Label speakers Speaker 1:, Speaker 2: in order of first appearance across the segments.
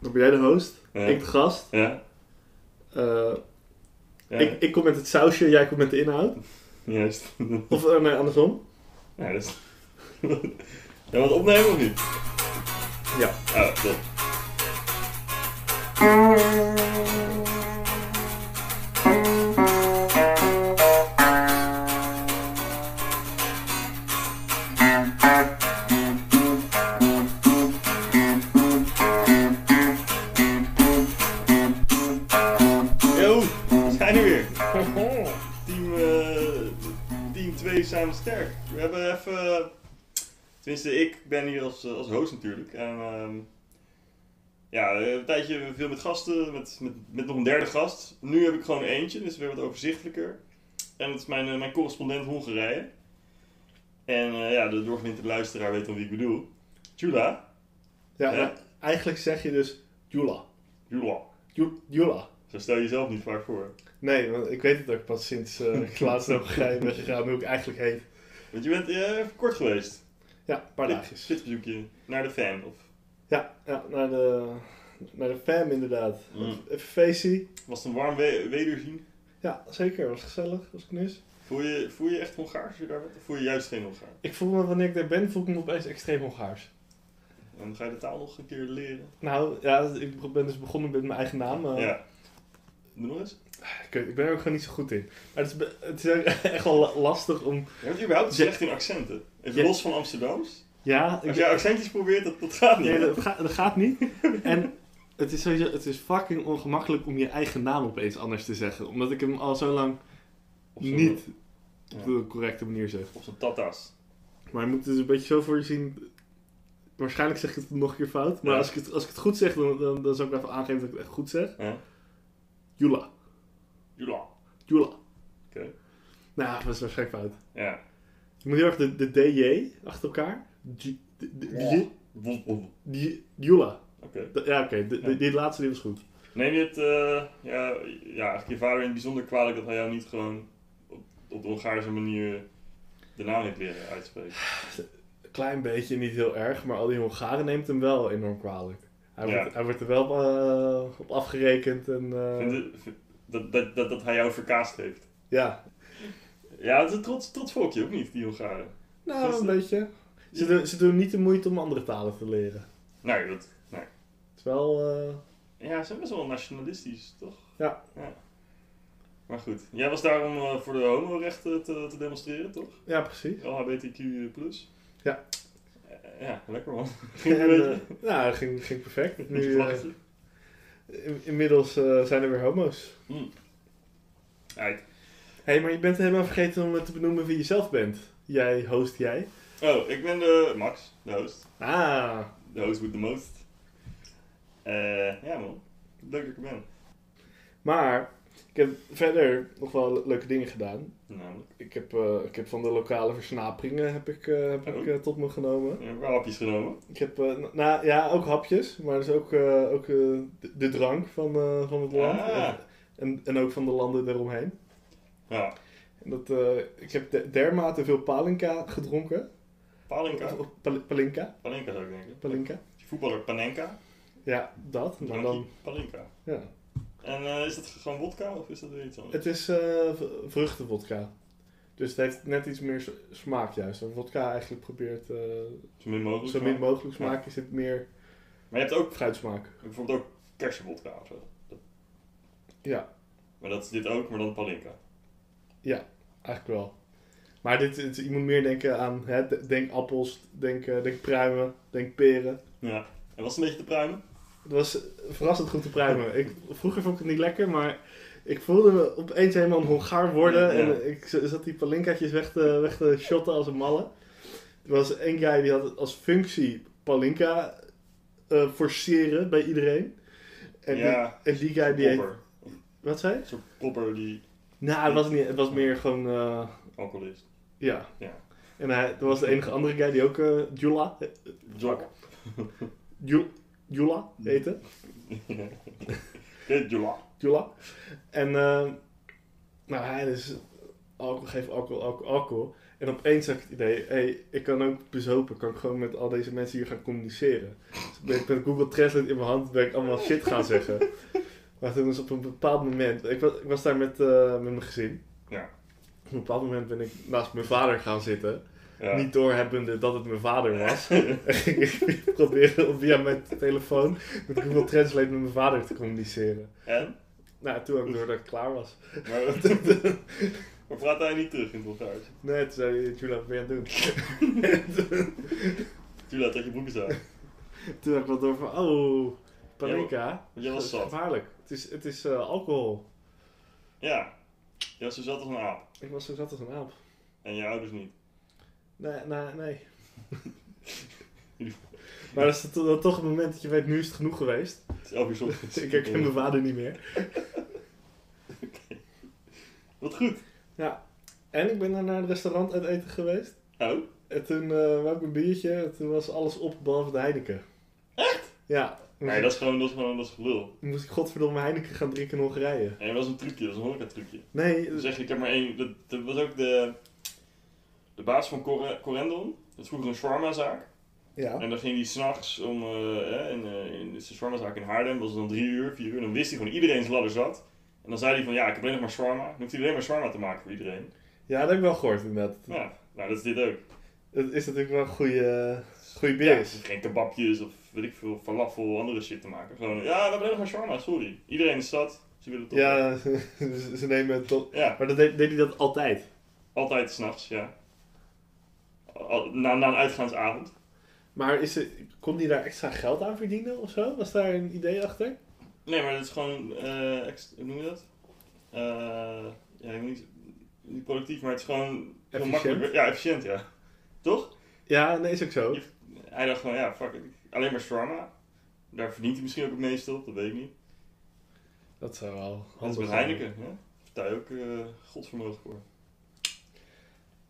Speaker 1: Dan ben jij de host,
Speaker 2: Ja.
Speaker 1: ik de gast.
Speaker 2: Ja.
Speaker 1: Eh,
Speaker 2: ja.
Speaker 1: ik, ik kom met het sausje, jij komt met de inhoud.
Speaker 2: Juist.
Speaker 1: Of eh, nee, andersom.
Speaker 2: ja, dat is... Ja, wat opnemen of niet?
Speaker 1: Ja.
Speaker 2: Oh, top. Yo, we zijn er weer. Team, eh, team 2 samen sterk. We hebben even... eh, Tenminste, ik ben hier als, eh, als host natuurlijk. En ehm, ja, we hebben een tijdje veel met gasten, met, met, met nog een derde gast. Nu heb ik gewoon eentje, dus weer wat overzichtelijker. En dat is mijn, eh, mijn correspondent Hongarije. En eh, ja, de doorgewinterde luisteraar weet dan wie ik bedoel. Jula.
Speaker 1: Ja,
Speaker 2: Ja.
Speaker 1: eh, eigenlijk zeg je dus Jula.
Speaker 2: Jula.
Speaker 1: Ju- Jula.
Speaker 2: Zo stel je jezelf niet vaak voor.
Speaker 1: Nee, want ik weet het ook pas sinds eh, ik laatst naar Hongarije ben gegaan, hoe ik eigenlijk heet.
Speaker 2: Want je bent eh, even kort geweest.
Speaker 1: Ja, een paar
Speaker 2: Dit-
Speaker 1: dagjes.
Speaker 2: Dit bezoekje naar de fan. Of
Speaker 1: Ja, ja naar, de, naar de fam inderdaad.
Speaker 2: Mm.
Speaker 1: Even feestje.
Speaker 2: was het een warm we wederzien?
Speaker 1: Ja, zeker. Was gezellig, was knus.
Speaker 2: Voel je, voel je echt Hongaars als je daar bent? Of voel je juist geen Hongaar?
Speaker 1: Ik voel me, wanneer ik daar ben, voel ik me opeens extreem Hongaars.
Speaker 2: En ga je de taal nog een keer leren?
Speaker 1: Nou, ja, ik ben dus begonnen met mijn eigen naam. eh,
Speaker 2: Ja. Doe nog eens.
Speaker 1: ik, weet- ik ben er ook gewoon niet zo goed in. Maar het is, be- het is ook echt wel la- lastig om...
Speaker 2: Je hebt überhaupt slecht in accenten. Even
Speaker 1: Ja.
Speaker 2: los van Amsterdams.
Speaker 1: Ja,
Speaker 2: Als jij accentjes probeert, dat, dat gaat niet.
Speaker 1: Nee, dat, ga- dat gaat niet. En het is sowieso, het is fucking ongemakkelijk om je eigen naam opeens anders te zeggen. Omdat ik hem al zo lang
Speaker 2: Op zo'n-
Speaker 1: niet
Speaker 2: Ja.
Speaker 1: op de correcte manier zeg.
Speaker 2: Op zo'n tata's.
Speaker 1: Maar je moet het dus een beetje zo voor je zien. Waarschijnlijk zeg ik het nog een keer fout. Maar
Speaker 2: Ja.
Speaker 1: als, ik het, als ik het goed zeg, dan, dan, dan zou ik even aangeven dat ik het echt goed zeg.
Speaker 2: Ja.
Speaker 1: Jula.
Speaker 2: Jula.
Speaker 1: Jula. Oké.
Speaker 2: Oké.
Speaker 1: Nou, dat is waarschijnlijk fout.
Speaker 2: Ja.
Speaker 1: Je moet heel erg de, de DJ achter elkaar. Ju- de- de- de-
Speaker 2: Wof, wof.
Speaker 1: Ju- Jula.
Speaker 2: Oké.
Speaker 1: Da- Ja, oké. de- de-
Speaker 2: Ja.
Speaker 1: Die laatste die was goed.
Speaker 2: Neem je het, eh, ja, ja, eigenlijk je vader in het bijzonder kwalijk dat hij jou niet gewoon op, op de Hongaarse manier de naam heeft leren uitspreken.
Speaker 1: Klein beetje, niet heel erg. Maar al die Hongaren neemt hem wel enorm kwalijk. Hij,
Speaker 2: Ja.
Speaker 1: wordt, hij wordt er wel eh, op afgerekend. En, eh,
Speaker 2: Vind je- vind- dat, dat, dat, dat hij jou verkaast heeft.
Speaker 1: Ja,
Speaker 2: Ja, het is een trots, trots volkje, ook niet, die Hongaren.
Speaker 1: nou
Speaker 2: Is
Speaker 1: een
Speaker 2: dat-
Speaker 1: beetje. Ze doen, ze doen niet de moeite om andere talen te leren.
Speaker 2: Nee, Nou dat, nee.
Speaker 1: Het is wel. eh,
Speaker 2: Ja, ze zijn best wel nationalistisch, toch?
Speaker 1: Ja.
Speaker 2: Maar goed, jij was daar om eh, voor de homorechten te, te demonstreren, toch?
Speaker 1: ja, precies.
Speaker 2: LHBTQ+.
Speaker 1: Ja.
Speaker 2: Eh, ja, lekker man. Ging
Speaker 1: En,
Speaker 2: een beetje.
Speaker 1: eh, nou, dat ging, ging perfect. Nu,
Speaker 2: Met je
Speaker 1: eh,
Speaker 2: vlaggetje.
Speaker 1: in- inmiddels eh, zijn er weer homo's.
Speaker 2: Hmm. Uit.
Speaker 1: Hé, hey, maar je bent helemaal vergeten om te benoemen wie je zelf bent. Jij, host jij.
Speaker 2: Oh, ik ben de Max, de host.
Speaker 1: Ah,
Speaker 2: De host with the most. Eh, ja man, leuk dat ik er ben.
Speaker 1: maar ik heb verder nog wel le- leuke dingen gedaan.
Speaker 2: Namelijk,
Speaker 1: Ik heb, eh, ik heb van de lokale versnaperingen heb ik, eh, heb ik
Speaker 2: Oh.
Speaker 1: eh, tot me genomen.
Speaker 2: ik heb een paar hapjes genomen.
Speaker 1: Ik heb, eh, na- nou ja, ook hapjes, maar dus ook, eh, ook eh, de, de drank van, eh, van het land.
Speaker 2: Ah.
Speaker 1: En, en ook van de landen daaromheen.
Speaker 2: Ja,
Speaker 1: En Dat, eh, ik heb de- dermate veel palinka gedronken.
Speaker 2: Palenka.
Speaker 1: Of- of pal- palinka,
Speaker 2: Palenka zou ik denken.
Speaker 1: palinka.
Speaker 2: Die Voetballer Panenka.
Speaker 1: Ja, dat. Maar dan,
Speaker 2: Drankie, Palenka.
Speaker 1: ja.
Speaker 2: En eh, is dat gewoon wodka of is dat weer iets anders?
Speaker 1: Het is eh, v- vruchtenvodka. Dus het heeft net iets meer s- smaak juist. Want vodka eigenlijk probeert eh,
Speaker 2: Zo min mogelijk.
Speaker 1: zo min
Speaker 2: smaak.
Speaker 1: mogelijk smaak. Is het meer
Speaker 2: Maar je hebt ook
Speaker 1: fruitsmaak.
Speaker 2: bijvoorbeeld ook kersenwodka of zo. Dat-
Speaker 1: Ja.
Speaker 2: Maar dat is dit ook, maar dan palinka.
Speaker 1: Eigenlijk wel. Maar dit, dit- je moet meer denken aan, hè, de- denk appels, denk, eh, denk pruimen, denk peren.
Speaker 2: Ja. En was het een beetje te pruimen?
Speaker 1: Het was verrassend goed te pruimen. Ik, vroeger vond ik het niet lekker, maar ik voelde me opeens helemaal een Hongaar worden.
Speaker 2: Ja.
Speaker 1: En ik z- zat die palinkaatjes weg te, weg te shotten als een malle. Er was één guy die had als functie palinka eh, forceren bij iedereen. En,
Speaker 2: ja.
Speaker 1: die, en die guy die... heet-
Speaker 2: Popper.
Speaker 1: Wat zei je?
Speaker 2: Een soort popper die
Speaker 1: Nou, het was, niet, het was meer gewoon... eh,
Speaker 2: alcohol is.
Speaker 1: ja.
Speaker 2: Ja.
Speaker 1: En hij, er was de enige andere guy die ook eh Jula, eh,
Speaker 2: Jok.
Speaker 1: Ju- Jula heette.
Speaker 2: Dit Jula.
Speaker 1: Jula. eh, En, ehm nou, hij dus alcohol, geeft alcohol, alcohol, alcohol. En En opeens had ik het idee, hey, ik kan ook bezopen, kan ik gewoon met al deze mensen hier gaan communiceren. Dus ben ik met Google Translate in mijn hand ben ik allemaal shit gaan zeggen. Maar toen was op een bepaald moment, ik was, ik was daar met, eh, met mijn gezin.
Speaker 2: Ja.
Speaker 1: Op een bepaald moment ben ik naast mijn vader gaan zitten.
Speaker 2: Ja.
Speaker 1: Niet doorhebbende dat het mijn vader was. En ging ik proberen om via mijn telefoon met Google Translate met mijn vader te communiceren.
Speaker 2: En?
Speaker 1: Nou, toen ook door dat ik klaar was.
Speaker 2: Maar, maar praat hij niet terug in het Bulgaars?
Speaker 1: Nee, toen zei hij, Jula, wat ben je aan het doen?
Speaker 2: Tuurlijk dat je broek is uit.
Speaker 1: Toen had ik wel door van, oh, panika.
Speaker 2: Jij was
Speaker 1: Dat
Speaker 2: zat.
Speaker 1: is gevaarlijk. Het is, het is eh, alcohol.
Speaker 2: Ja. Je was zo zat als een aap.
Speaker 1: Ik was zo zat als een aap.
Speaker 2: En je ouders niet.
Speaker 1: Nee, nee, nee. Maar dat is to- dan toch het moment dat je weet, nu is het genoeg geweest.
Speaker 2: Het is elf uur 's ochtends.
Speaker 1: Ik herken mijn vader niet meer.
Speaker 2: Wat goed.
Speaker 1: En ik ben daar naar een restaurant uit eten geweest.
Speaker 2: Oh.
Speaker 1: En toen eh wou ik een biertje. En toen was alles op behalve de Heineken. Echt? Ja.
Speaker 2: Nee, dat is gewoon, dat is gewoon, dat is gelul.
Speaker 1: Moest ik godverdomme Heineken gaan drinken in Hongarije.
Speaker 2: En dat was een trucje, dat is een horeca trucje.
Speaker 1: Nee,
Speaker 2: Dus zeg ik heb maar één. Dat, dat was ook de, de baas van Cor Corendon. Dat is vroeger een shawarmazaak.
Speaker 1: ja.
Speaker 2: En dan ging hij s'nachts om, eh, eh, in, eh, in de shawarmazaak in Haarlem, was het dan drie uur, vier uur. Dan wist hij gewoon iedereen zijn ladder zat. En dan zei hij van, ja, ik heb alleen nog maar shawarma. Dan hoeft hij alleen maar shawarma te maken voor iedereen.
Speaker 1: Ja, dat heb ik wel gehoord inderdaad.
Speaker 2: Ja, nou dat is dit ook.
Speaker 1: Het is natuurlijk wel een goede, goede
Speaker 2: Ja,
Speaker 1: bier.
Speaker 2: dus geen kebabjes of weet ik veel, falafel, andere shit te maken. Gewoon, ja, we hebben alleen nog maar shawarma, sorry. Iedereen is zat, ze willen toch.
Speaker 1: Ja, ze ze nemen het toch.
Speaker 2: ja
Speaker 1: Maar dat deed, deed hij dat altijd.
Speaker 2: altijd s'nachts, ja. Al- Na, na een uitgaansavond.
Speaker 1: Maar is er, kon hij daar extra geld aan verdienen of zo? Was daar een idee achter?
Speaker 2: Nee, maar dat is gewoon, eh, ex- hoe noem je dat? Eh, ja, ik wil niet, niet productief, maar het is gewoon heel
Speaker 1: Efficiënt?
Speaker 2: makkelijk. Ja, efficiënt, ja. Toch?
Speaker 1: Ja, nee, is ook zo.
Speaker 2: Hij dacht gewoon, ja, fuck it. Alleen maar shawarma. Daar verdient hij misschien ook het meeste op, dat weet ik niet.
Speaker 1: Dat zou wel.
Speaker 2: Dat is
Speaker 1: handig
Speaker 2: met
Speaker 1: zijn.
Speaker 2: Heineken, hè? Daar ook eh godsvermogen voor.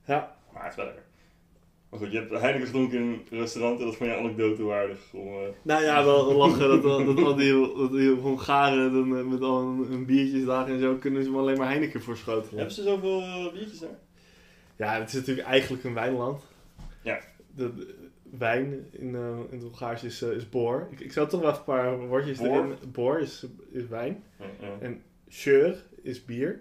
Speaker 1: Ja.
Speaker 2: Maar het is wel lekker. Maar goed, je hebt Heineken gedronken in een restaurant en dat vond je anekdote waardig. Om, eh,
Speaker 1: Nou ja, wel lachen dat, dat, dat al die, dat die Hongaren dan, eh, met al hun, hun biertjes daar en zo kunnen ze maar alleen maar Heineken voorschotelen.
Speaker 2: Hebben ze zoveel eh, biertjes daar?
Speaker 1: Ja, het is natuurlijk eigenlijk een wijnland.
Speaker 2: Ja.
Speaker 1: De, de- wijn in, eh, in het Hongaars is, eh, is boor. Ik, ik zou toch wel even een paar woordjes
Speaker 2: Boor?
Speaker 1: erin. Boor is, is wijn.
Speaker 2: Ja, ja.
Speaker 1: Scheur is bier.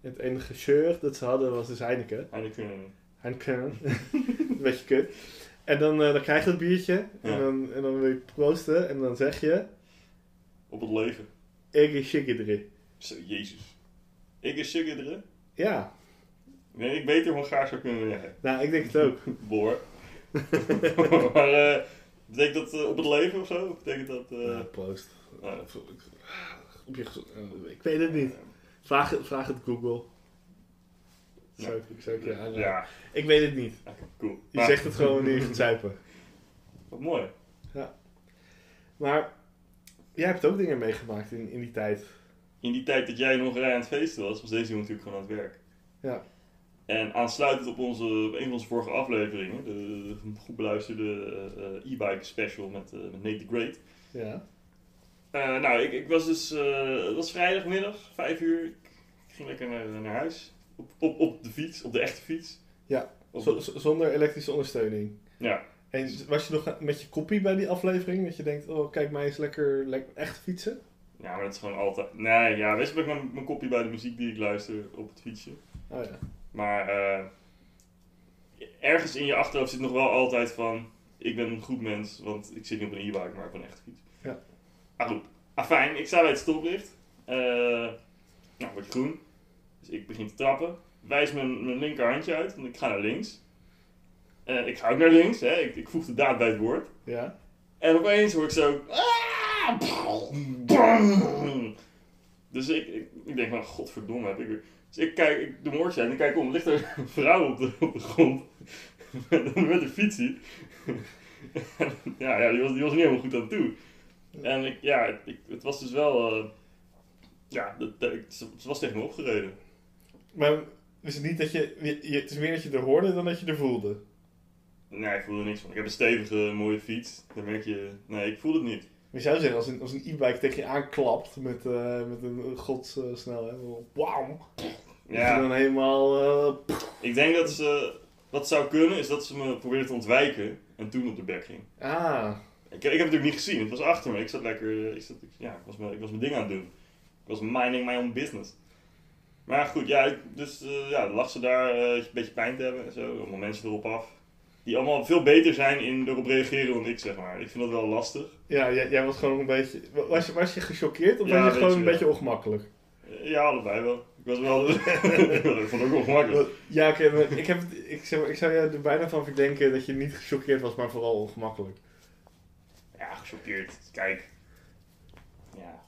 Speaker 1: En het enige scheur dat ze hadden was dus Heineken.
Speaker 2: Heineken. eh,
Speaker 1: Heineken. Een beetje kut. En dan, eh, dan krijg je dat biertje.
Speaker 2: Ja.
Speaker 1: En, dan, en dan wil je proosten. En dan zeg je...
Speaker 2: Op het leven.
Speaker 1: Ik is shikidri.
Speaker 2: Zo, jezus. Ik is sugar
Speaker 1: Ja.
Speaker 2: Nee, ik beter Hongaars zou kunnen zeggen.
Speaker 1: Nou, ik denk het ook.
Speaker 2: Boor. maar eh, betekent dat eh, op het leven of zo? Of betekent dat... eh,
Speaker 1: Ja, proost.
Speaker 2: nou,
Speaker 1: Op je gez- eh, ik weet het niet. Vraag, het- vraag het Google.
Speaker 2: Ja.
Speaker 1: Zou ik, zou ik je aanraden.
Speaker 2: ja,
Speaker 1: Ik weet het niet.
Speaker 2: oké, cool.
Speaker 1: Je
Speaker 2: Maar,
Speaker 1: zegt het gewoon wanneer je gaat zuipen.
Speaker 2: Wat mooi.
Speaker 1: Maar jij hebt ook dingen meegemaakt in, in die tijd.
Speaker 2: in die tijd dat jij in Hongarije aan het feesten was, was deze jongen natuurlijk gewoon aan het werk.
Speaker 1: Ja.
Speaker 2: En aansluitend op, onze, op een van onze vorige afleveringen, de, de goed beluisterde eh, eh, e-bike special met, eh, met Nate the Great.
Speaker 1: Ja.
Speaker 2: Eh, nou, ik, ik was dus, eh, het was vrijdagmiddag, vijf uur. Ik ging lekker naar, naar huis. Op, op, op de fiets, op de echte fiets.
Speaker 1: Ja.
Speaker 2: Op
Speaker 1: Z-
Speaker 2: de-
Speaker 1: z- zonder elektrische ondersteuning.
Speaker 2: ja.
Speaker 1: En was je nog met je kopie bij die aflevering? Dat je denkt, oh kijk, mij is lekker, lekker echt fietsen.
Speaker 2: ja, maar dat is gewoon altijd. Nee, ja, weet je, ben ik mijn, mijn kopje bij de muziek die ik luister op het fietsje.
Speaker 1: Oh ja.
Speaker 2: Maar eh, ergens in je achterhoofd zit nog wel altijd van... Ik ben een goed mens, want ik zit niet op een e-bike, maar op een echte fiets.
Speaker 1: Ja.
Speaker 2: Maar goed. Afijn, ik sta bij het stoplicht. Eh, nou, wordt groen. Dus ik begin te trappen. Wijs mijn, mijn linkerhandje uit, want ik ga naar links. Eh, ik ga ook naar links, hè. Ik, ik voeg de daad bij het woord.
Speaker 1: Ja?
Speaker 2: En opeens hoor ik zo... "Ah, brum, brum." Dus ik, ik, ik denk, nou, godverdomme heb ik weer... Dus ik kijk, ik doe mijn oortje uit en ik kijk om. Ligt er een vrouw op de, op de grond. Met, met een fietsie. ja, ja die, was, die was niet helemaal goed aan toe. En ik, ja, ik, het was dus wel... eh, ja, dat, dat- ik- ze, ze was tegen me opgereden.
Speaker 1: Maar is het niet dat je, je, je- het is meer dat je er hoorde dan dat je er voelde.
Speaker 2: Nee, ik voelde er niks van. Ik heb een stevige, mooie fiets. Dan merk je... Nee, ik voel het niet.
Speaker 1: Je zou zeggen, als een, als een e-bike tegen je aanklapt met, eh, met een godssnelheid, wauw. Dat je
Speaker 2: Ja,
Speaker 1: dan helemaal... eh,
Speaker 2: ik denk dat ze... Wat zou kunnen is dat ze me probeerde te ontwijken en toen op de bek ging.
Speaker 1: Ah,
Speaker 2: Ik, ik heb het natuurlijk niet gezien, het was achter me. Ik zat lekker, eh, ik, zat, ik- ja, ik, was mijn, ik was mijn ding aan het doen. Ik was minding my own business. Maar goed, ja, ik- dus eh, ja, dan lag ze daar eh, een beetje pijn te hebben en zo. Allemaal mensen erop af. Die allemaal veel beter zijn in erop reageren dan ik, zeg maar. Ik vind dat wel lastig.
Speaker 1: ja, jij, jij was gewoon een beetje... wa- Was je, was je gechoqueerd of
Speaker 2: Ja,
Speaker 1: was je
Speaker 2: een
Speaker 1: gewoon een
Speaker 2: beetje,
Speaker 1: beetje ongemakkelijk?
Speaker 2: Eh, Ja, allebei wel. Ik was wel... ik vond het ook ongemakkelijk.
Speaker 1: Ja, oké, maar ik, heb, het- ik, zou, ik zou jou er bijna van verdenken dat je niet gechoqueerd was, maar vooral ongemakkelijk.
Speaker 2: Ja, gechoqueerd. Kijk. Ja.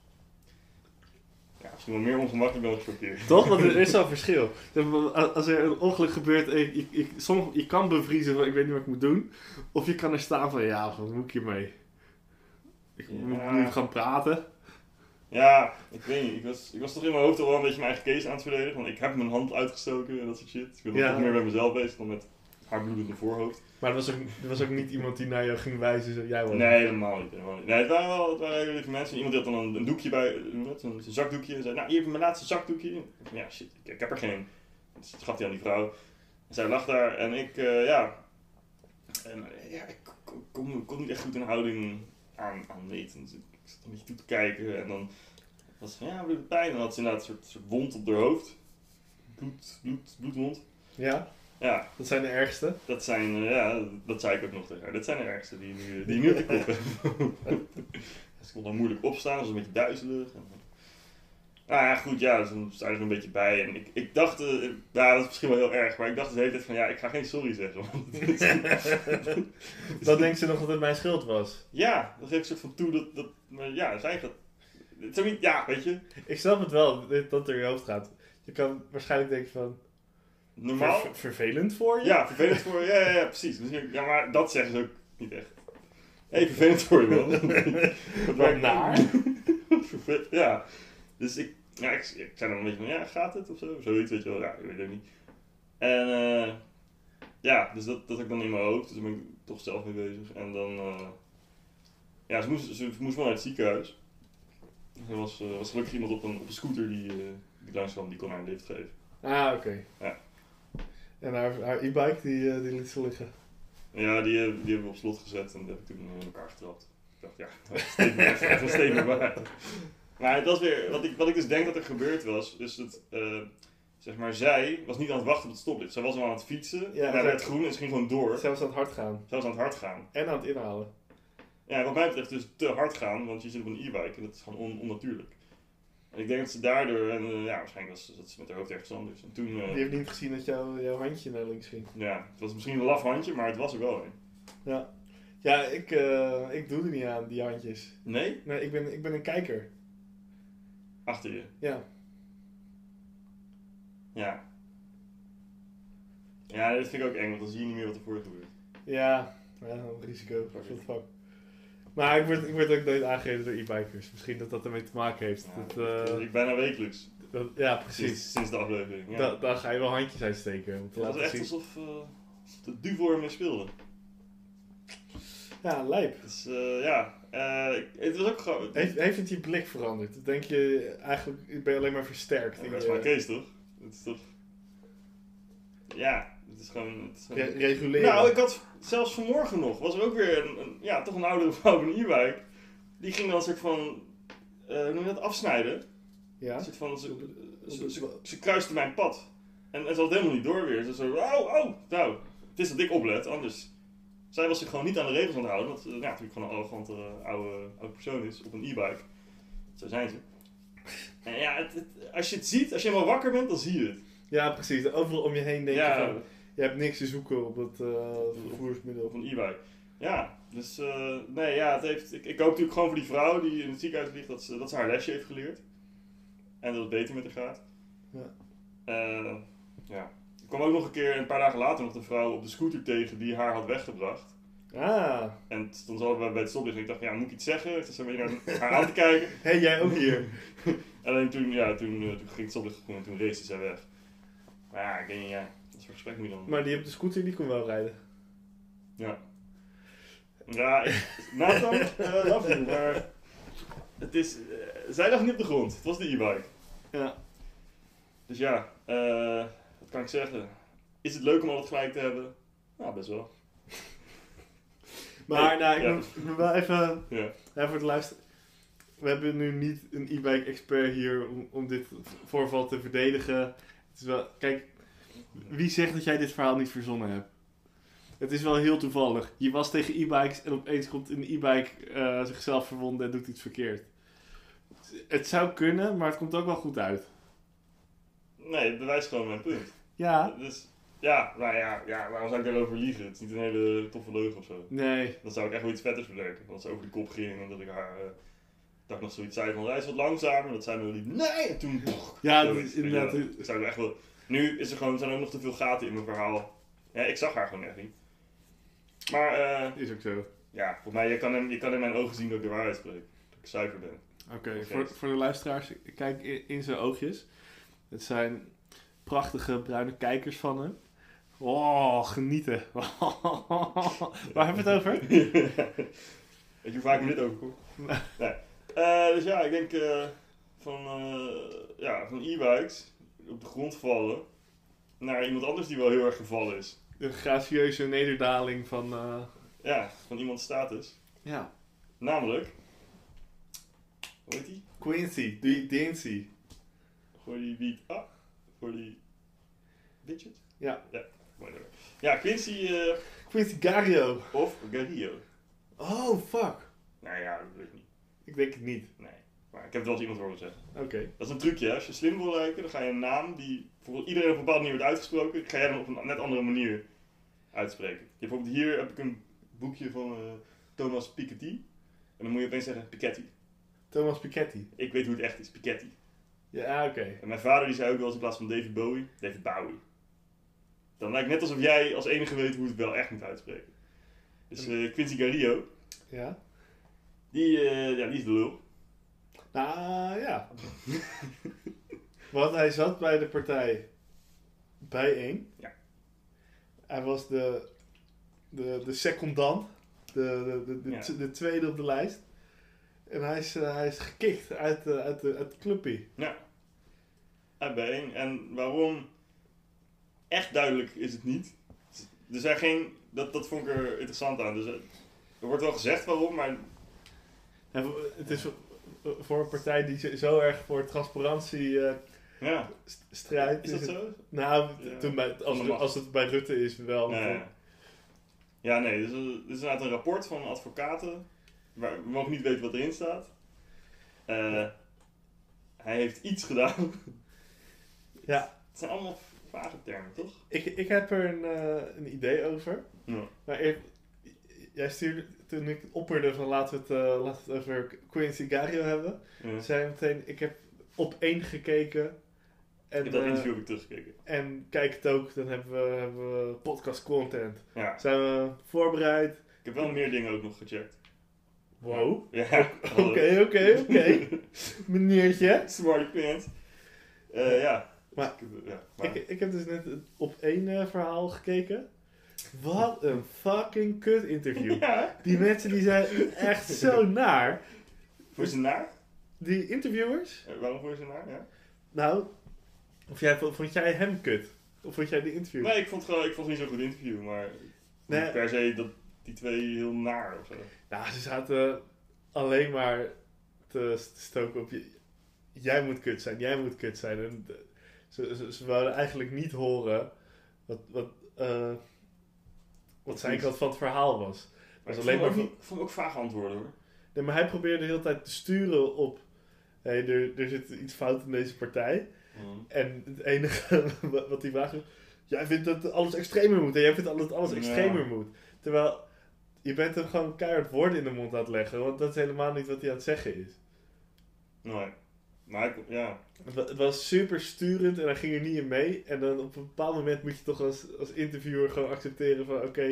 Speaker 2: Ja, misschien wel meer ongemakkelijk dan gechoqueerd.
Speaker 1: Toch? Want er is zo'n verschil. Zeg maar, a- Als er een ongeluk gebeurt, eh, en je, je, somm- je kan bevriezen van ik weet niet wat ik moet doen. Of je kan er staan van ja, wat moet ik hiermee? Ik moet
Speaker 2: Ja.
Speaker 1: nu gaan praten.
Speaker 2: Ja, ik weet niet. Ik was, ik was toch in mijn hoofd al wel een beetje mijn eigen case aan het verdedigen. Want ik heb mijn hand uitgestoken en dat soort shit. Ik ben
Speaker 1: Ja.
Speaker 2: nog meer bij mezelf bezig dan met haar bloedende voorhoofd.
Speaker 1: Maar er was ook, er was ook niet iemand die naar jou ging wijzen, zo jij was.
Speaker 2: Nee, helemaal niet. Helemaal niet. Nee, het waren wel het waren hele lieve mensen. Iemand die had dan een, een doekje bij, hoe noem je dat? een, een zakdoekje. En zei, nou, hier heb je mijn laatste zakdoekje. Ja, shit, ik, ik heb er geen. Dus dat gaf hij aan die vrouw. En zij lag daar en ik, eh, ja. En eh, ja, ik kon, kon, kon niet echt goed een houding aan, aan meten. Dus ik, ik zat een beetje toe te kijken en dan was van, ja, weer pijn. En dan had ze inderdaad een soort, soort wond op haar hoofd. Bloed, bloed, bloedwond.
Speaker 1: Ja,
Speaker 2: Ja,
Speaker 1: dat zijn de ergste.
Speaker 2: dat zijn, eh, ja, dat zei ik ook nog tegen haar. Dat zijn de ergste die, nu- die nu op de kop hebben. Ze kon dan moeilijk opstaan, was een beetje duizelig. En, eh, nou ja, goed, ja, ze stond er een beetje bij. En ik, ik dacht, eh, ja, dat is misschien wel heel erg, maar ik dacht de hele tijd van, ja, ik ga geen sorry zeggen. Want het is-
Speaker 1: Dan denkt ze nog dat het mijn schuld was.
Speaker 2: ja, dat geeft een soort van toe dat, dat maar ja, zij gaat... Het is ook niet, ja, weet je,
Speaker 1: Ik snap het wel, dit- dat het door je hoofd gaat. Je kan waarschijnlijk denken van,
Speaker 2: normaal...
Speaker 1: ver- vervelend voor je?
Speaker 2: Ja, vervelend voor je. Ja, ja, ja, precies. Misschien- Ja, maar dat zeggen ze ook niet echt. Hé, hey, vervelend voor je wel. Wat
Speaker 1: Wat naar.
Speaker 2: Vervel- ja. Dus ik, ja, ik, ik zei dan een beetje van, ja, gaat het of zo? Zoiets, weet je wel. Ja, ik weet het ook niet. En eh, ja, dus dat, dat had ik dan in mijn hoofd. Dus daar ben ik toch zelf mee bezig. En dan, eh, ja, ze moest, ze moest wel naar het ziekenhuis. Er was, eh, was gelukkig iemand op een, op een scooter die, eh die langs kwam, die kon haar een lift geven.
Speaker 1: Ah, oké.
Speaker 2: Ja.
Speaker 1: En haar, haar e-bike, die, eh, die liet ze liggen.
Speaker 2: Ja, die, eh, die hebben we op slot gezet en dat heb ik toen in elkaar getrapt. Ik dacht, ja, dat is steeds meer, dat is steeds meer waar. Maar het was weer, wat ik, wat ik dus denk dat er gebeurd was, is dat, eh, zeg maar, zij was niet aan het wachten op het stoplicht. Zij was al aan het fietsen,
Speaker 1: Ja,
Speaker 2: naar
Speaker 1: dat-
Speaker 2: het groen en ze ging gewoon door.
Speaker 1: Zelfs aan het hard gaan.
Speaker 2: Zij was aan het hard gaan.
Speaker 1: En aan het inhalen.
Speaker 2: Ja, wat mij betreft dus te hard gaan, want je zit op een e-bike en dat is gewoon on- onnatuurlijk. En ik denk dat ze daardoor, en eh, ja, waarschijnlijk was dat ze met haar hoofd ergens anders. En toen, eh,
Speaker 1: Die heeft niet gezien dat jouw- jouw handje naar links ging.
Speaker 2: ja, het was misschien een laf handje, maar het was er wel een.
Speaker 1: Ja, ik, eh, ik doe er niet aan, die handjes.
Speaker 2: Nee?
Speaker 1: Nee, ik ben, ik ben een kijker.
Speaker 2: Achter je.
Speaker 1: Ja.
Speaker 2: Ja. Ja, dat vind ik ook eng, want dan zie je niet meer wat ervoor gebeurt.
Speaker 1: Ja, ja een risico. What the fuck. Maar ik word, ik word ook nooit aangegeven door e-bikers. Misschien dat dat ermee te maken heeft.
Speaker 2: Ja,
Speaker 1: Dat,
Speaker 2: dat
Speaker 1: eh,
Speaker 2: doe ik bijna wekelijks.
Speaker 1: dat, ja precies.
Speaker 2: Sinds, sinds de aflevering. Ja.
Speaker 1: Da- daar ga je wel handjes uitsteken. Om te
Speaker 2: het was
Speaker 1: laten
Speaker 2: echt
Speaker 1: zien.
Speaker 2: alsof eh, de duvel ermee speelde.
Speaker 1: Ja, lijp.
Speaker 2: Dus eh, ja, eh, ik- het was ook gewoon...
Speaker 1: Heeft, heeft het je blik veranderd? Dan denk je eigenlijk, ben je alleen maar versterkt.
Speaker 2: Ja,
Speaker 1: in
Speaker 2: dat is
Speaker 1: je-
Speaker 2: maar Kees, toch? Het is toch... Ja, het is gewoon... Het is gewoon...
Speaker 1: re- reguleren.
Speaker 2: Nou, ik had zelfs vanmorgen nog, was er ook weer een, een- ja, toch een oudere vrouw op een e-bike. Die ging dan een soort van, eh, hoe noem je dat, afsnijden.
Speaker 1: ja?
Speaker 2: Een soort van, ze, ze,
Speaker 1: het-
Speaker 2: ze, ze kruiste mijn pad. En, en ze had helemaal niet door weer. Ze zo, oh, oh, nou. Het is dat ik oplet, anders. Zij was zich gewoon niet aan de regels aan het houden. Want eh, ja, natuurlijk gewoon een arrogante eh, oude, oude persoon is op een e-bike. Zo zijn ze. En ja, het- het- als je het ziet, als je helemaal wakker bent, dan zie je het.
Speaker 1: ja, precies. Overal om je heen denk je
Speaker 2: ja,
Speaker 1: van, je hebt niks te zoeken op het eh, vervoersmiddel.
Speaker 2: op een e-bike. Ja, dus eh, nee, ja, het heeft, ik, ik hoop natuurlijk gewoon voor die vrouw die in het ziekenhuis ligt dat ze, dat ze haar lesje heeft geleerd. En dat het beter met haar gaat.
Speaker 1: Ja.
Speaker 2: Eh, ja. Ik kwam ook nog een keer, een paar dagen later, nog een vrouw op de scooter tegen die haar had weggebracht.
Speaker 1: Ah,
Speaker 2: En toen stonden ze allebei bij het stoplicht en ik dacht, ja, moet ik iets zeggen? Ik zat zo een beetje naar haar aan te kijken.
Speaker 1: hey, jij ook hier.
Speaker 2: Alleen toen, ja, toen, eh, toen ging het stoplicht groen en toen race zij weg. Maar ja, ik denk, ja, dat soort gesprek moet je dan...
Speaker 1: Maar die op de scooter, die kon wel rijden.
Speaker 2: Ja, ik- Nathan, eh love you, maar het is, eh, zij lag niet op de grond. Het was de e-bike.
Speaker 1: Ja.
Speaker 2: Dus ja, eh, wat kan ik zeggen? Is het leuk om altijd gelijk te hebben? Nou, best wel.
Speaker 1: Maar nou, ik
Speaker 2: Ja.
Speaker 1: moet- ik moet wel even,
Speaker 2: Ja.
Speaker 1: even voor het luisteren. We hebben nu niet een e-bike expert hier om, om dit voorval te verdedigen. Het is wel, kijk, wie zegt dat jij dit verhaal niet verzonnen hebt? Het is wel heel toevallig. Je was tegen e-bikes en opeens komt een e-bike eh, zichzelf verwonden en doet iets verkeerd. Het zou kunnen, maar het komt ook wel goed uit.
Speaker 2: Nee, het bewijst gewoon mijn punt.
Speaker 1: Ja.
Speaker 2: Dus ja, nou ja, ja, waarom zou ik daarover liegen? Het is niet een hele toffe leugen of zo.
Speaker 1: Nee.
Speaker 2: Dan zou ik echt wel iets vetters bedenken. Dat ze over de kop ging en dat ik haar... eh, dat ik nog zoiets zei van, reis wat langzamer. Dat zij me liep, nee! En toen...
Speaker 1: Ja, dat
Speaker 2: Zoiets,
Speaker 1: is
Speaker 2: weet je wel.
Speaker 1: inderdaad.
Speaker 2: Ik zou er echt wel... Nu is er gewoon, zijn er ook nog te veel gaten in mijn verhaal. Ja, ik zag haar gewoon echt niet. Maar eh,
Speaker 1: Is ook zo. Oké,
Speaker 2: ja, volgens mij, je kan, in, je kan in mijn ogen zien dat ik de waarheid spreek. Dat ik zuiver ben.
Speaker 1: voor, voor de luisteraars, ik kijk in, in zijn oogjes. Het zijn prachtige bruine kijkers van hem. Oh, genieten. Waar hebben we het over?
Speaker 2: Weet je hoe vaak ik dit overkomt? Nee. Eh, dus ja, ik denk eh, van, eh, ja, van e-bikes op de grond vallen naar iemand anders die wel heel erg gevallen is.
Speaker 1: De gracieuze nederdaling van... eh,
Speaker 2: Ja, van iemands status.
Speaker 1: ja.
Speaker 2: Namelijk, hoe heet die?
Speaker 1: Quincy, die Dincy.
Speaker 2: Gooi die beat ah, Gooi die Widget?
Speaker 1: Ja.
Speaker 2: Ja, whatever. Ja, Quincy eh,
Speaker 1: Quincy Gario.
Speaker 2: of Garillo.
Speaker 1: Oh, fuck.
Speaker 2: Nou ja, dat weet ik niet.
Speaker 1: Ik denk het niet.
Speaker 2: Nee. Maar ik heb het wel eens iemand horen zeggen.
Speaker 1: Oké.
Speaker 2: Dat is een trucje, hè. Als je slim wil lijken, dan ga je een naam die voor iedereen op een bepaalde manier wordt uitgesproken, ga jij dan op een net andere manier uitspreken. Je hebt bijvoorbeeld hier heb ik een boekje van eh, Thomas Piketty. En dan moet je opeens zeggen Piketty.
Speaker 1: Thomas Piketty.
Speaker 2: Ik weet hoe het echt is, Piketty.
Speaker 1: Ja, oké.
Speaker 2: En mijn vader die zei ook wel eens in plaats van David Bowie, David Bowie. Dan lijkt het net alsof jij als enige weet hoe het wel echt moet uitspreken. Dus eh, Quincy Garillo,
Speaker 1: Ja.
Speaker 2: die, eh, ja, die is de lul.
Speaker 1: Nou, ja. Want hij zat bij de partij bijeen.
Speaker 2: Ja.
Speaker 1: Hij was de, de, de secondant, de, de, de, de,
Speaker 2: Ja.
Speaker 1: t- de tweede op de lijst. En hij is, eh, hij is gekikt uit, de uit, de, uit de clubpie.
Speaker 2: Hij bijeen. En waarom? Echt duidelijk is het niet. Er zijn geen, dat, dat vond ik er interessant aan. Dus, eh, er wordt wel gezegd waarom, maar
Speaker 1: En voor- het is voor- voor een partij die zo- zo erg voor transparantie eh,
Speaker 2: ja,
Speaker 1: st- strijdt.
Speaker 2: is dat
Speaker 1: het-
Speaker 2: zo?
Speaker 1: Nou,
Speaker 2: Ja.
Speaker 1: toen bij, als,
Speaker 2: Van de macht.
Speaker 1: als het bij Rutte is wel.
Speaker 2: Nee. Ja, nee, dus, eh, dit is inderdaad een rapport van advocaten. Maar we mogen niet weten wat erin staat. Eh, hij heeft iets gedaan.
Speaker 1: Ja.
Speaker 2: Het zijn allemaal vage termen, toch?
Speaker 1: Ik, ik heb er een, eh, een idee over.
Speaker 2: Ja.
Speaker 1: Maar eer- jij stuurde, toen ik het opperde van laten we het, eh, laten we het over Quincy Gario hebben,
Speaker 2: Ja.
Speaker 1: zei hij meteen, ik heb op één gekeken. En,
Speaker 2: Ik heb dat
Speaker 1: eh,
Speaker 2: interview heb ik teruggekeken.
Speaker 1: en kijk het ook, dan hebben we, hebben we podcast content.
Speaker 2: Ja.
Speaker 1: Zijn we voorbereid?
Speaker 2: Ik heb wel meer dingen ook nog gecheckt.
Speaker 1: Wow.
Speaker 2: Ja, hallo.
Speaker 1: Oké, oké, oké. Meneertje.
Speaker 2: Smarty pants. Eh, ja.
Speaker 1: Maar-
Speaker 2: Ik- eh, ja, maar-
Speaker 1: Ik, ik heb dus net het op één eh, verhaal gekeken. Wat een fucking kut interview.
Speaker 2: Ja,
Speaker 1: Die mensen die zijn echt zo naar.
Speaker 2: voor zijn naar?
Speaker 1: Die interviewers?
Speaker 2: Eh, waarom voor zijn naar? Ja.
Speaker 1: Nou, of jij, vond jij hem kut? Of vond jij de interview?
Speaker 2: Nee, ik vond, het gewoon, ik vond het niet zo'n goed interview, maar
Speaker 1: Nee.
Speaker 2: niet per se dat die twee heel naar of zo.
Speaker 1: Nou, ze zaten alleen maar te st- stoken op je. Jij moet kut zijn, jij moet kut zijn. En de- ze, ze, ze wouden eigenlijk niet horen wat, wat, eh, wat zijn kant van het verhaal was. Dat
Speaker 2: Maar ik
Speaker 1: is
Speaker 2: vond,
Speaker 1: alleen
Speaker 2: maar...
Speaker 1: maar
Speaker 2: ook, niet- ik vond ook vage antwoorden hoor.
Speaker 1: Nee, maar hij probeerde de hele tijd te sturen op. Hé, hey, er, er zit iets fout in deze partij. En het enige wa- wat hij waagt is... Jij vindt dat alles extremer moet. En jij vindt dat alles
Speaker 2: Ja.
Speaker 1: extremer moet. Terwijl, je bent hem gewoon keihard woorden in de mond aan het leggen. Want dat is helemaal niet wat hij aan het zeggen is.
Speaker 2: Nee. Maar ik, ja.
Speaker 1: Het wa- het was super sturend en hij ging er niet in mee. En dan op een bepaald moment moet je toch als, als interviewer gewoon accepteren van... Oké,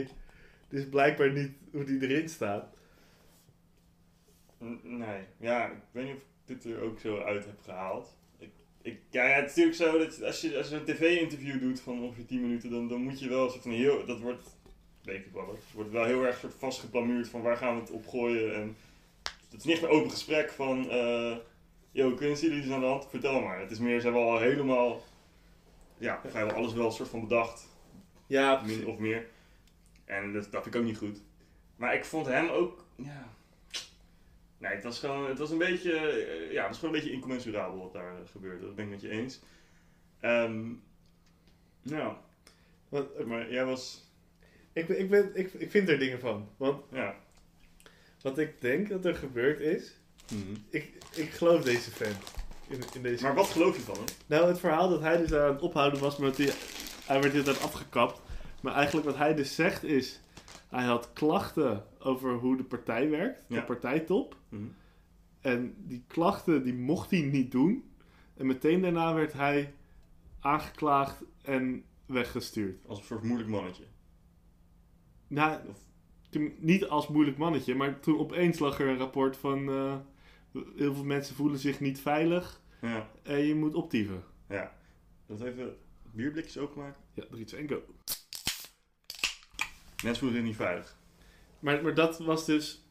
Speaker 1: dit is blijkbaar niet hoe die erin staat.
Speaker 2: N- Nee. Ja, ik weet niet of ik dit er ook zo uit heb gehaald. Ik, ik, ja, ja, het is natuurlijk zo dat als je, als je een tv-interview doet van ongeveer 10 minuten, dan, dan moet je wel een soort van heel. Dat wordt. Weet ik wel. hoor. Het wordt wel heel erg soort vastgeplamuurd van waar gaan we het op gooien. En het is niet een open gesprek van. eh Yo, Quincy, jullie is aan de hand, vertel maar. Het is meer, ze hebben al helemaal. Ja, vrijwel alles wel een soort van bedacht.
Speaker 1: Ja,
Speaker 2: min
Speaker 1: precies.
Speaker 2: of meer. En dat, dat vind ik ook niet goed. Maar ik vond hem ook, ja... Nee, het was gewoon, het was een beetje, eh, ja, het was gewoon een beetje incommensurabel wat daar eh, gebeurde. Dat ben ik met je eens. Ehm nou,
Speaker 1: Want, eh,
Speaker 2: maar jij was,
Speaker 1: ik, ben- ik, ben, ik, ik vind er dingen van. Want
Speaker 2: ja.
Speaker 1: wat ik denk dat er gebeurd is. Ik, ik geloof deze fan. In, in deze...
Speaker 2: Maar wat geloof je van hem?
Speaker 1: Nou, het verhaal dat hij dus daar aan het ophouden was, maar dat hij, hij werd dit aan afgekapt. Maar eigenlijk wat hij dus zegt is, hij had klachten over hoe de partij werkt,
Speaker 2: Ja.
Speaker 1: de partijtop. En die klachten, die mocht hij niet doen. En meteen daarna werd hij aangeklaagd en weggestuurd.
Speaker 2: Als een soort moeilijk mannetje.
Speaker 1: Nou,
Speaker 2: Of-
Speaker 1: toen- niet als moeilijk mannetje, maar toen opeens lag er een rapport van... eh, heel veel mensen voelen zich niet veilig
Speaker 2: Ja,
Speaker 1: en je moet optieven.
Speaker 2: ja. Dat even bierblikjes openmaken.
Speaker 1: Ja, 3, 2, 1, go.
Speaker 2: Mensen voelen zich niet veilig.
Speaker 1: Maar, maar dat was dus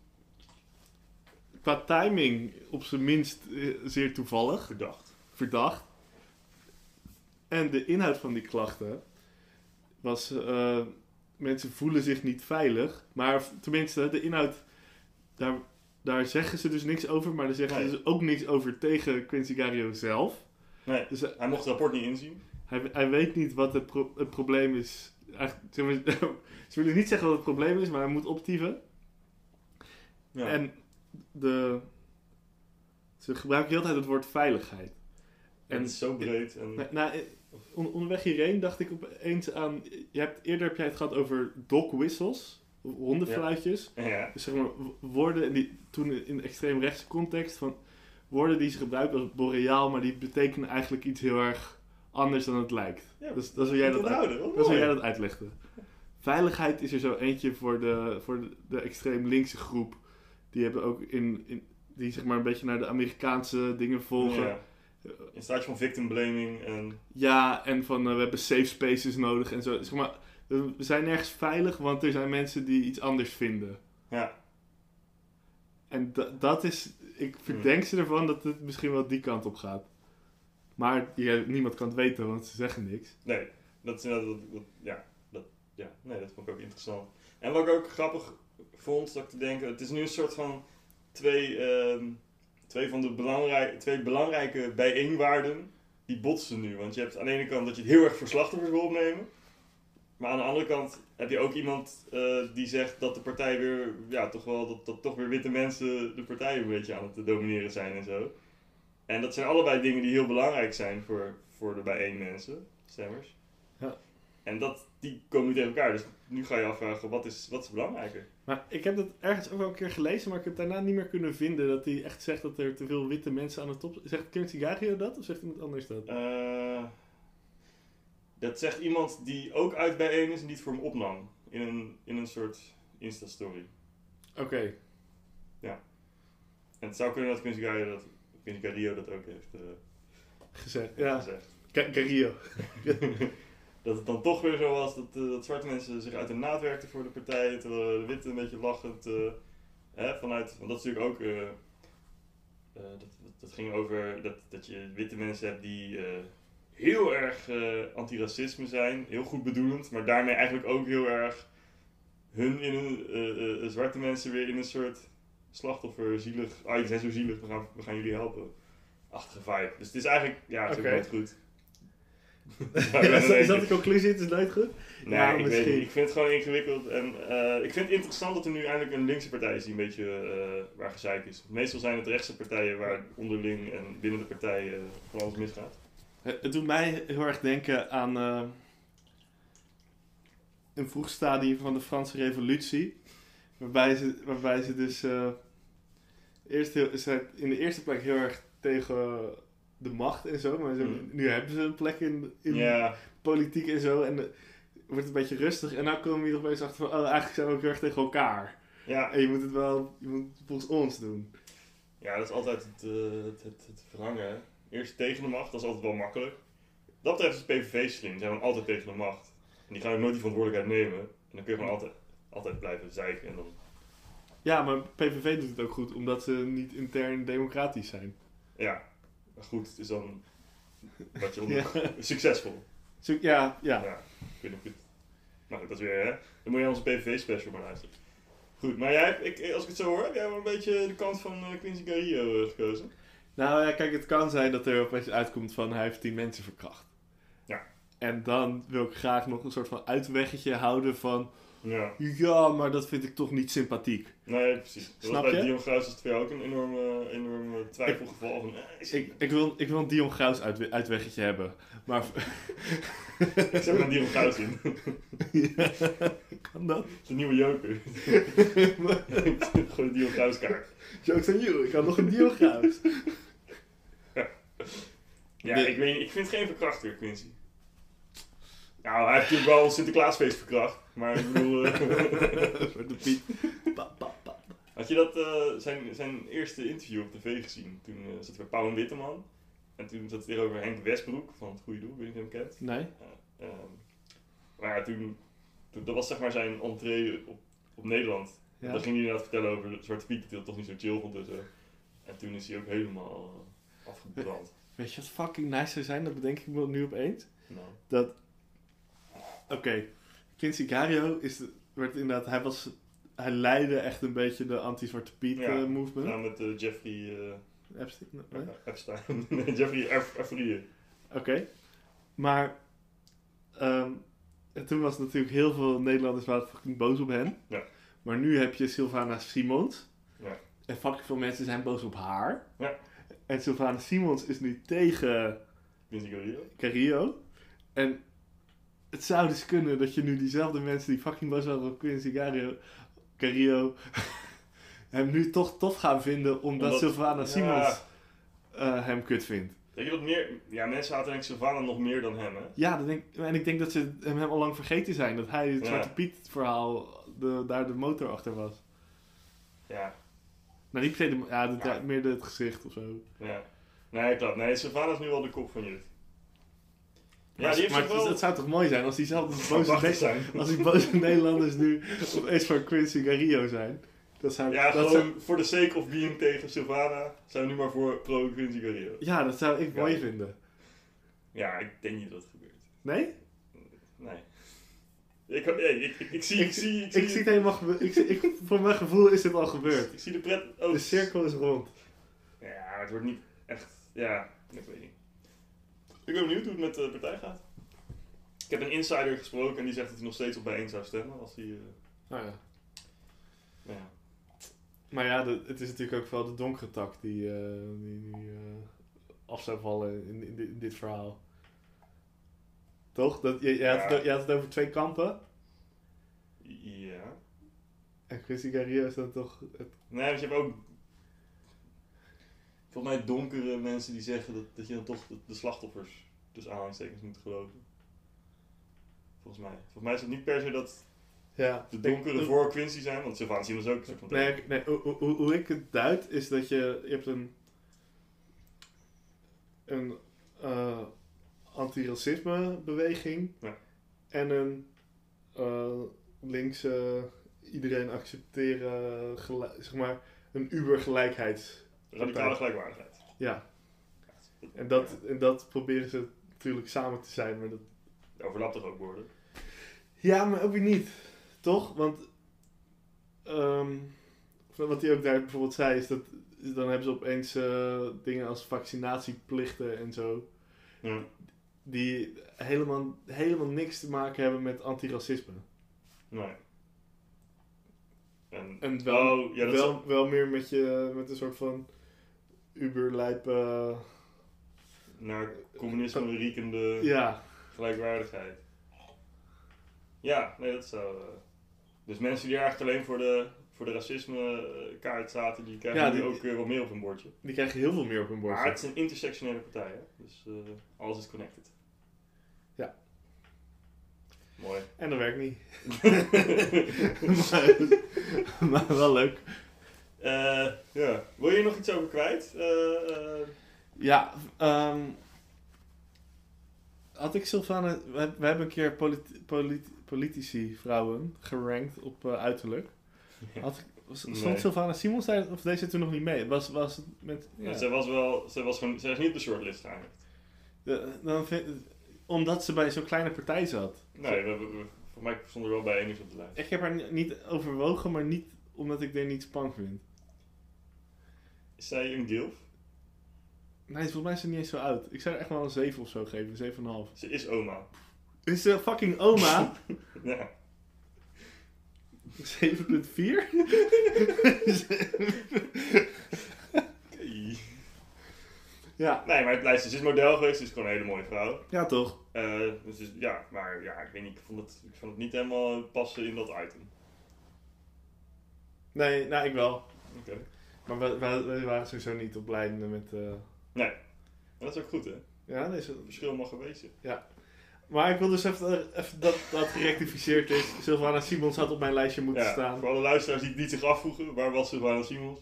Speaker 1: qua timing op zijn minst eh, zeer toevallig,
Speaker 2: Verdacht.
Speaker 1: verdacht. En de inhoud van die klachten was: eh, mensen voelen zich niet veilig. Maar v- tenminste, de inhoud, daar, daar zeggen ze dus niks over. Maar daar zeggen
Speaker 2: Nee.
Speaker 1: ze dus ook niks over tegen Quincy Gario zelf.
Speaker 2: Nee,
Speaker 1: Dus hij-
Speaker 2: hij mocht het rapport niet inzien.
Speaker 1: hij, hij weet niet wat het, pro- het probleem is. Eigenlijk, zeg maar, ze willen niet zeggen wat het probleem is, maar hij moet optieven.
Speaker 2: Ja.
Speaker 1: En de, ze gebruiken heel de hele tijd het woord veiligheid.
Speaker 2: en het is zo breed. En,
Speaker 1: Nou, nou, eh, on- onderweg hierheen dacht ik opeens aan... Je hebt, eerder heb jij het gehad over dog whistles, hondenfluitjes.
Speaker 2: Ja,
Speaker 1: Dus zeg maar wo- woorden, en die, toen in de extreemrechtse context, van woorden die ze gebruiken als boreaal, maar die betekenen eigenlijk iets heel erg anders dan het lijkt.
Speaker 2: Ja,
Speaker 1: dus dat is hoe jij
Speaker 2: goed
Speaker 1: dat, uit,
Speaker 2: onthouden, wat
Speaker 1: dat, is hoe
Speaker 2: mooi.
Speaker 1: jij dat uitlegde. Veiligheid is er zo eentje voor de, voor de, de extreem linkse groep. Die hebben ook in, in die zeg maar een beetje naar de Amerikaanse dingen volgen. Ja,
Speaker 2: Ja. In staatje van victim blaming en
Speaker 1: en van eh, we hebben safe spaces nodig en zo. Zeg maar, we zijn nergens veilig, want er zijn mensen die iets anders vinden.
Speaker 2: ja,
Speaker 1: En da- dat is, ik verdenk ze ervan dat het misschien wel die kant op gaat. Maar je- niemand kan het weten, want ze zeggen niks.
Speaker 2: nee, dat is inderdaad wat, wat- ja, dat, ja, nee, dat vond ik ook interessant. En wat ik ook grappig vond, dat ik te denken, het is nu een soort van twee, ehm, twee van de belangrijke, twee belangrijke bijeenwaarden, die botsen nu. Want je hebt aan de ene kant dat je het heel erg voor slachtoffers wil opnemen, maar aan de andere kant heb je ook iemand eh, die zegt dat de partij weer, ja, toch wel, dat, dat toch weer witte mensen de partij een beetje aan het domineren zijn en zo. En dat zijn allebei dingen die heel belangrijk zijn voor, voor de bijeen mensen, stemmers.
Speaker 1: Ja.
Speaker 2: En dat, die komen niet tegen elkaar. Dus nu ga je afvragen, wat is, wat is belangrijker?
Speaker 1: Maar ik heb dat ergens ook wel een keer gelezen, maar ik heb daarna niet meer kunnen vinden dat hij echt zegt dat er te veel witte mensen aan de top Zegt Kirt Gario dat of zegt iemand anders dat?
Speaker 2: Eh, dat zegt iemand die ook uit bijeen is en die het voor hem opnam. In een, in een soort Insta-story.
Speaker 1: Oké.
Speaker 2: En het zou kunnen dat Quincy Gario dat, Quincy Gario dat ook heeft eh,
Speaker 1: Gezegd. Ja.
Speaker 2: gezegd.
Speaker 1: Ga- Gario.
Speaker 2: dat het dan toch weer zo was dat, eh, dat zwarte mensen zich uit de naad werkten voor de partijen, terwijl eh, de witte een beetje lachend eh, hè, vanuit, want dat is natuurlijk ook, eh, eh, dat, dat ging over dat, dat je witte mensen hebt die eh, heel erg eh, antiracisme zijn, heel goed bedoelend, maar daarmee eigenlijk ook heel erg hun in hun, eh, eh, eh, zwarte mensen weer in een soort slachtoffer, zielig, ah jullie zijn zo zielig, we gaan, we gaan jullie helpen. Achtige vibe. Dus het is eigenlijk, ja, het is
Speaker 1: Oké.
Speaker 2: ook nooit goed.
Speaker 1: Ja,
Speaker 2: Zou ik wel
Speaker 1: is, dat- is
Speaker 2: denken.
Speaker 1: dat de conclusie? Het is nooit goed?
Speaker 2: Nee,
Speaker 1: Ja,
Speaker 2: ik,
Speaker 1: misschien.
Speaker 2: Weet niet. ik vind het gewoon ingewikkeld. En eh, ik vind het interessant dat er nu eindelijk een linkse partij is die een beetje eh, waar gezeik is. Meestal zijn het rechtse partijen waar onderling en binnen de partij eh, van alles misgaat.
Speaker 1: Het het doet mij heel erg denken aan eh, een vroeg stadium van de Franse Revolutie. Waarbij ze, waarbij ze dus eh, eerst heel, ze in de eerste plek heel erg tegen de macht en zo. Maar ze-
Speaker 2: Hmm.
Speaker 1: nu hebben ze een plek in, in
Speaker 2: Ja,
Speaker 1: politiek en zo. En eh, wordt het een beetje rustig. En dan komen we hier opeens achter van, oh, eigenlijk zijn we ook heel erg tegen elkaar.
Speaker 2: ja,
Speaker 1: En je moet het wel, je moet het volgens ons doen.
Speaker 2: ja, dat is altijd het, eh, het, het, het verlangen. hè. Eerst tegen de macht, dat is altijd wel makkelijk. Dat betreft is PVV slim, die zijn dan altijd tegen de macht. En die gaan ook nooit die verantwoordelijkheid nemen. En dan kun je gewoon altijd, altijd blijven zeiken. En dan,
Speaker 1: Ja, maar PVV doet het ook goed, omdat ze niet intern democratisch zijn.
Speaker 2: ja, maar goed, het is dan wat je onder...
Speaker 1: Ja.
Speaker 2: Succesvol.
Speaker 1: Zo- ja, ja.
Speaker 2: Ja, ik weet niet of ik het Maar goed, dat is weer, hè? Dan moet jij onze PVV-special maar luisteren. Goed, maar jij, hebt- ik, als ik het zo hoor, heb jij wel een beetje de kant van eh Quincy Garrido eh, gekozen.
Speaker 1: Nou ja, kijk, het kan zijn dat er opeens uitkomt van hij heeft tien mensen verkracht.
Speaker 2: Ja.
Speaker 1: En dan wil ik graag nog een soort van uitweggetje houden van...
Speaker 2: Ja.
Speaker 1: Ja, maar dat vind ik toch niet sympathiek.
Speaker 2: Nee, precies. Dat
Speaker 1: Snap
Speaker 2: was bij
Speaker 1: je?
Speaker 2: Dion Graus was het voor jou ook een enorme, enorme twijfelgeval van... eh, is
Speaker 1: Ik, ik, wil, ik wil een Dion Graus uit, uitweggetje hebben. Maar...
Speaker 2: Ik zet maar Dion Graus in.
Speaker 1: Ja, kan dat?
Speaker 2: De nieuwe joker. Gewoon Dion Graus kaart.
Speaker 1: Jokes on you, ik had nog een Dion Graus.
Speaker 2: Ja,
Speaker 1: De-
Speaker 2: ik, weet, niet, ik vind geen verkrachter, Quincy. Nou, hij heeft natuurlijk wel een Sinterklaasfeest verkracht. Maar ik bedoel... eh,
Speaker 1: Voor de piep. Pa, pa, pa.
Speaker 2: had je dat, eh, zijn, zijn eerste interview op tv gezien? Toen eh, zat hij bij Pauw en Witteman. En toen zat hij tegenover Henk Westbroek van Het Goede Doel, ik weet niet of je hem kent.
Speaker 1: Nee?
Speaker 2: Ehm, maar ja, toen, toen... Dat was zeg maar zijn entree op, op Nederland.
Speaker 1: Ja.
Speaker 2: Dan ging hij inderdaad vertellen over Zwarte Piet, dat hij dat toch niet zo chill vond en zo. En toen is hij ook helemaal eh, afgebrand.
Speaker 1: Weet je wat fucking nice zou zijn? Dat bedenk ik me nu opeens.
Speaker 2: Nou,
Speaker 1: Dat... Oké. Quincy Gario is... de- werd inderdaad... Hij was... Hij leidde echt een beetje de anti-Zwarte Piet
Speaker 2: Ja.
Speaker 1: eh, movement.
Speaker 2: samen met eh, Jeffrey... eh,
Speaker 1: Epstein? Nee? Oké.
Speaker 2: Epstein. Nee, Jeffrey Ep- Epstein.
Speaker 1: Maar... ehm, en toen was natuurlijk heel veel Nederlanders waren fucking boos op hem.
Speaker 2: Ja.
Speaker 1: Maar nu heb je Sylvana Simons.
Speaker 2: Ja.
Speaker 1: En fucking veel mensen zijn boos op haar.
Speaker 2: Ja.
Speaker 1: En Sylvana Simons is nu tegen...
Speaker 2: Quincy Garrido.
Speaker 1: Cario. En het zou dus kunnen dat je nu diezelfde mensen die fucking boos waren op Quincy Cario, Cario hem nu toch tof gaan vinden omdat,
Speaker 2: Omdat-
Speaker 1: Sylvana
Speaker 2: ja.
Speaker 1: Simons eh, hem kut vindt.
Speaker 2: Denk je dat meer... Ja, mensen haten denk ik Sylvana nog meer dan hem, hè?
Speaker 1: Ja, dat denk, en ik denk dat ze hem, hem al lang vergeten zijn. Dat hij het
Speaker 2: Ja.
Speaker 1: Zwarte Piet verhaal de, daar de motor achter was.
Speaker 2: Ja.
Speaker 1: Nou, niet per se de, ja, de-
Speaker 2: Ja.
Speaker 1: meer het gezicht of zo.
Speaker 2: ja. Nee, klopt. Nee, Sylvana is nu wel de kop van Jut. Ja,
Speaker 1: maar
Speaker 2: die heeft
Speaker 1: maar
Speaker 2: zich
Speaker 1: het,
Speaker 2: wel...
Speaker 1: het zou toch mooi zijn als diezelfde boze
Speaker 2: Prachtig
Speaker 1: mensen
Speaker 2: zijn.
Speaker 1: Als die boze Nederlanders nu opeens voor Quincy Garrio zijn. Dat zou,
Speaker 2: Ja,
Speaker 1: dat
Speaker 2: gewoon
Speaker 1: zou,
Speaker 2: voor de sake of being tegen Sylvana zijn we nu maar voor pro Quincy Garrido.
Speaker 1: ja, dat zou ik
Speaker 2: Ja.
Speaker 1: mooi vinden.
Speaker 2: Ja, ik denk niet dat dat gebeurt.
Speaker 1: Nee?
Speaker 2: Nee. Ik, nee, ik, ik, ik zie... Ik zie...
Speaker 1: Ik zie het helemaal gebe- ik zie, ik, Voor mijn gevoel is dit al gebeurd.
Speaker 2: Ik zie de pret... Oh,
Speaker 1: De cirkel is rond.
Speaker 2: Ja, maar het wordt niet echt. Ja, ik weet niet. Ik ben benieuwd hoe het met de partij gaat. Ik heb een insider gesproken en die zegt dat hij nog steeds op bijeen zou stemmen als hij. eh,
Speaker 1: Nou ja.
Speaker 2: nou ja.
Speaker 1: Maar ja, de- het is natuurlijk ook vooral de donkere tak die, eh, die, die eh, af zou vallen in, in, dit- in dit verhaal. Toch? Dat, je, je, had het,
Speaker 2: Ja.
Speaker 1: o- je had het over twee kampen.
Speaker 2: Ja.
Speaker 1: En Quincy Garrio is dan toch... Het,
Speaker 2: Nee, want je hebt ook. Volgens mij donkere mensen die zeggen dat, dat je dan toch de, de slachtoffers, dus aanhalingstekens, moet geloven. Volgens mij. Volgens mij is het niet per se dat
Speaker 1: ja.
Speaker 2: de
Speaker 1: Ik-
Speaker 2: donkere voor Quincy zijn, want Sylvaan Simons ook. een soort van-
Speaker 1: Nee, ik- nee hoe, hoe- hoe, hoe ik het duid is dat je, je hebt een, een eh antiracisme beweging
Speaker 2: Ja.
Speaker 1: en een eh, linkse iedereen accepteren, gelijk- zeg maar, een ubergelijkheids.
Speaker 2: Radicale gelijkwaardigheid.
Speaker 1: Ja, en dat, en dat proberen ze natuurlijk samen te zijn. Maar dat...
Speaker 2: Ja, Overlapt toch ook worden?
Speaker 1: Ja, maar ook weer niet, toch? Want ehm, wat hij ook daar bijvoorbeeld zei, is dat is- dan hebben ze opeens eh, dingen als vaccinatieplichten en zo.
Speaker 2: Ja.
Speaker 1: Die helemaal, helemaal niks te maken hebben met antiracisme.
Speaker 2: Nee. En,
Speaker 1: En wel,
Speaker 2: Oh, ja, dat
Speaker 1: wel, wel meer met, je, met een soort van eh, uberlijpe...
Speaker 2: naar communisme riekende
Speaker 1: ja,
Speaker 2: gelijkwaardigheid. Ja, nee, dat zou... eh, dus mensen die eigenlijk alleen voor de, voor de racisme eh, kaart zaten, die krijgen
Speaker 1: Ja,
Speaker 2: nu
Speaker 1: die-
Speaker 2: ook weer wat meer op hun bordje.
Speaker 1: die krijgen heel veel meer op hun
Speaker 2: Maar het
Speaker 1: bord.
Speaker 2: is een intersectionele partij, hè? dus eh, alles is connected.
Speaker 1: Ja.
Speaker 2: Mooi.
Speaker 1: En dat werkt niet. maar, maar wel leuk.
Speaker 2: Eh, ja. Wil je hier nog iets over kwijt? Eh, eh,
Speaker 1: Ja, ehm, had ik Sylvana... We, heb- we hebben een keer politi- politi- politici vrouwen gerankt op eh, uiterlijk.
Speaker 2: eh,
Speaker 1: Had ik, was-
Speaker 2: Nee.
Speaker 1: stond Sylvana Simons daar, of deze toen nog niet mee? Was, was het met... Ja.
Speaker 2: ja, Zij was wel... Zij, was gewoon, zij is niet op de shortlist geëindigd.
Speaker 1: De- dan vind- omdat ze bij zo'n kleine partij zat.
Speaker 2: Nee, we, we, we- Voor mij stond er wel bij enigszins op de lijst.
Speaker 1: Ik heb haar ni- niet overwogen, maar niet omdat ik er niet spannend vind.
Speaker 2: Is zij een gilf?
Speaker 1: Nee, volgens mij is ze niet eens zo oud. Ik zou haar echt wel een 7 of zo geven, een 7,5.
Speaker 2: Ze is oma.
Speaker 1: Is ze fucking oma?
Speaker 2: Ja.
Speaker 1: 7,4?
Speaker 2: Oké.
Speaker 1: Ja.
Speaker 2: Nee, maar het lijstje is dus model geweest. Ze is gewoon een hele mooie vrouw.
Speaker 1: Ja, toch?
Speaker 2: Eh, dus is- ja, maar ja, ik weet niet. Ik vond, het, ik vond het niet helemaal passen in dat item.
Speaker 1: Nee, nou, ik wel.
Speaker 2: Oké.
Speaker 1: Maar we, we, we waren sowieso niet op leidende met... eh,
Speaker 2: En dat is ook goed, hè?
Speaker 1: Ja, nee, zo-
Speaker 2: Verschil mag gewezen.
Speaker 1: Maar ik wil dus even, even dat dat gerectificeerd is. Sylvana Simons had op mijn lijstje moeten
Speaker 2: Ja,
Speaker 1: staan.
Speaker 2: voor alle luisteraars die, die zich afvroegen, waar was Sylvana Simons?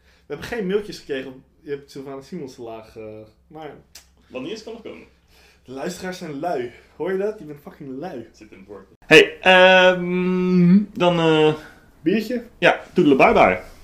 Speaker 1: We hebben geen mailtjes gekregen. Je hebt Sylvana Simons te laag. eh, maar
Speaker 2: Wanneer is het kan nog komen?
Speaker 1: de luisteraars zijn lui. Hoor je dat? Je bent fucking lui.
Speaker 2: Het zit in het woord. Hey, ehm, dan... eh,
Speaker 1: Biertje?
Speaker 2: ja, toedelen bye bye.